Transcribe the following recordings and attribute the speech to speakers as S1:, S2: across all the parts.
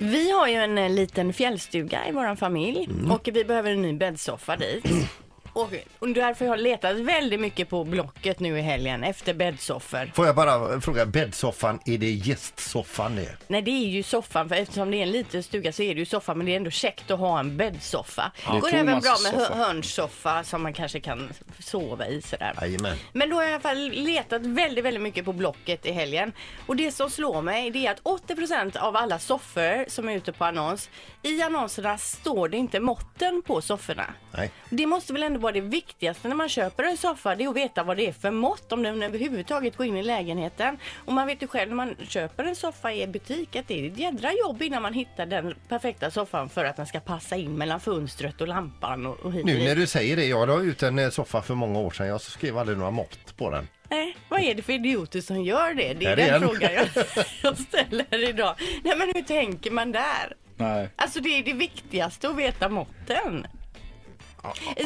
S1: Vi har ju en eh, liten fjällstuga i vår familj
S2: Mm.
S1: och vi behöver en ny bäddsoffa dit. Och, eh, och därför har jag letat väldigt mycket på Blocket nu i helgen efter bäddsoffor.
S3: Får jag bara fråga, bäddsoffan, är det gästsoffan det?
S1: Nej det är ju soffan för eftersom det är en liten stuga så är det ju soffan men det är ändå käckt att ha en bäddsoffa.
S2: det är
S1: Går även
S2: Thomas
S1: bra med hö-
S2: soffa.
S1: hörnsoffa som man kanske kan sova i sådär.
S3: Jajamän.
S1: Men då har jag i alla fall letat väldigt, väldigt mycket på Blocket i helgen. Och det som slår mig det är att 80% av alla soffor som är ute på annons, i annonserna står det inte måtten på sofforna.
S3: Nej.
S1: Det måste väl ändå vara det viktigaste när man köper en soffa, det är att veta vad det är för mått, om den överhuvudtaget går in i lägenheten. Och man vet ju själv när man köper en soffa i en butik att det är ett jädra jobb innan man hittar den perfekta soffan för att den ska passa in mellan fönstret och lampan och, och hit och
S3: Nu
S1: dit.
S3: när du säger det, jag la ut en eh, soffa för många år sedan. Jag skrev aldrig några mått på den.
S1: Nej, vad är det för idioter som gör det? Det är
S3: Här
S1: den
S3: igen.
S1: frågan jag, jag ställer idag. Nej men hur tänker man där?
S2: Nej.
S1: Alltså det är det viktigaste att veta måtten.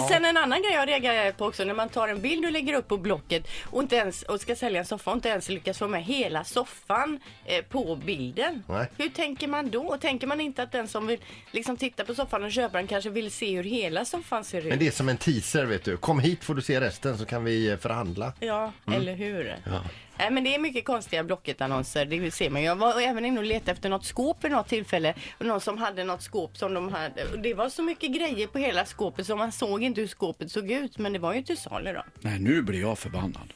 S1: Sen en annan grej jag reagerar på också när man tar en bild och lägger upp på Blocket och, inte ens, och ska sälja en soffa och inte ens lyckas få med hela soffan eh, på bilden.
S3: Nej.
S1: Hur tänker man då? Tänker man inte att den som vill liksom, titta på soffan och köpa den kanske vill se hur hela soffan ser
S3: Men
S1: ut?
S3: det är som en teaser, vet du. Kom hit får du se resten så kan vi eh, förhandla.
S1: Ja, eller hur? Nej, men det är mycket konstiga Blocket-annonser, det ser man ju. Jag var även inne och letade efter något skåp vid något tillfälle. Och någon som hade något skåp som de hade. Och det var så mycket grejer på hela skåpet så man såg inte hur skåpet såg ut. Men det var ju till salu då.
S2: Nej, nu blir jag förbannad.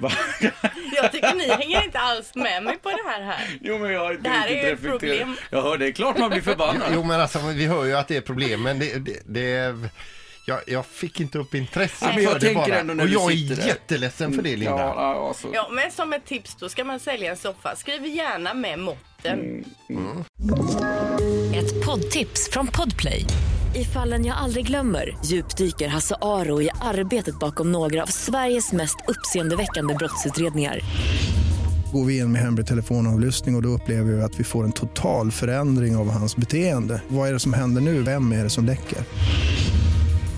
S2: Va?
S1: Jag tycker ni hänger inte alls med mig på det här här.
S2: Jo, men jag har inte
S1: Det här är
S2: riktigt
S1: ju ett
S2: reflekterat.
S1: problem.
S2: Jag hör, det är klart man blir förbannad.
S3: Jo men alltså vi hör ju att det är problem men det, det, det jag, jag fick inte upp intresset
S2: Nej, men jag
S3: för det
S2: tänker
S3: bara.
S2: ändå när
S3: och
S2: du
S3: jag är
S2: sitter där.
S3: jätteledsen för det Linda.
S2: Ja, ja, alltså.
S1: Ja, men som ett tips då ska man sälja en soffa. Skriv gärna med måtten.
S4: Ett poddtips från Podplay. I fallen jag aldrig glömmer djupdyker Hasse Aro i arbetet bakom några av Sveriges mest uppseendeväckande brottsutredningar.
S5: Går vi in med hemlig telefonavlyssning och, och då upplever vi att vi får en total förändring av hans beteende. Vad är det som händer nu? Vem är det som läcker?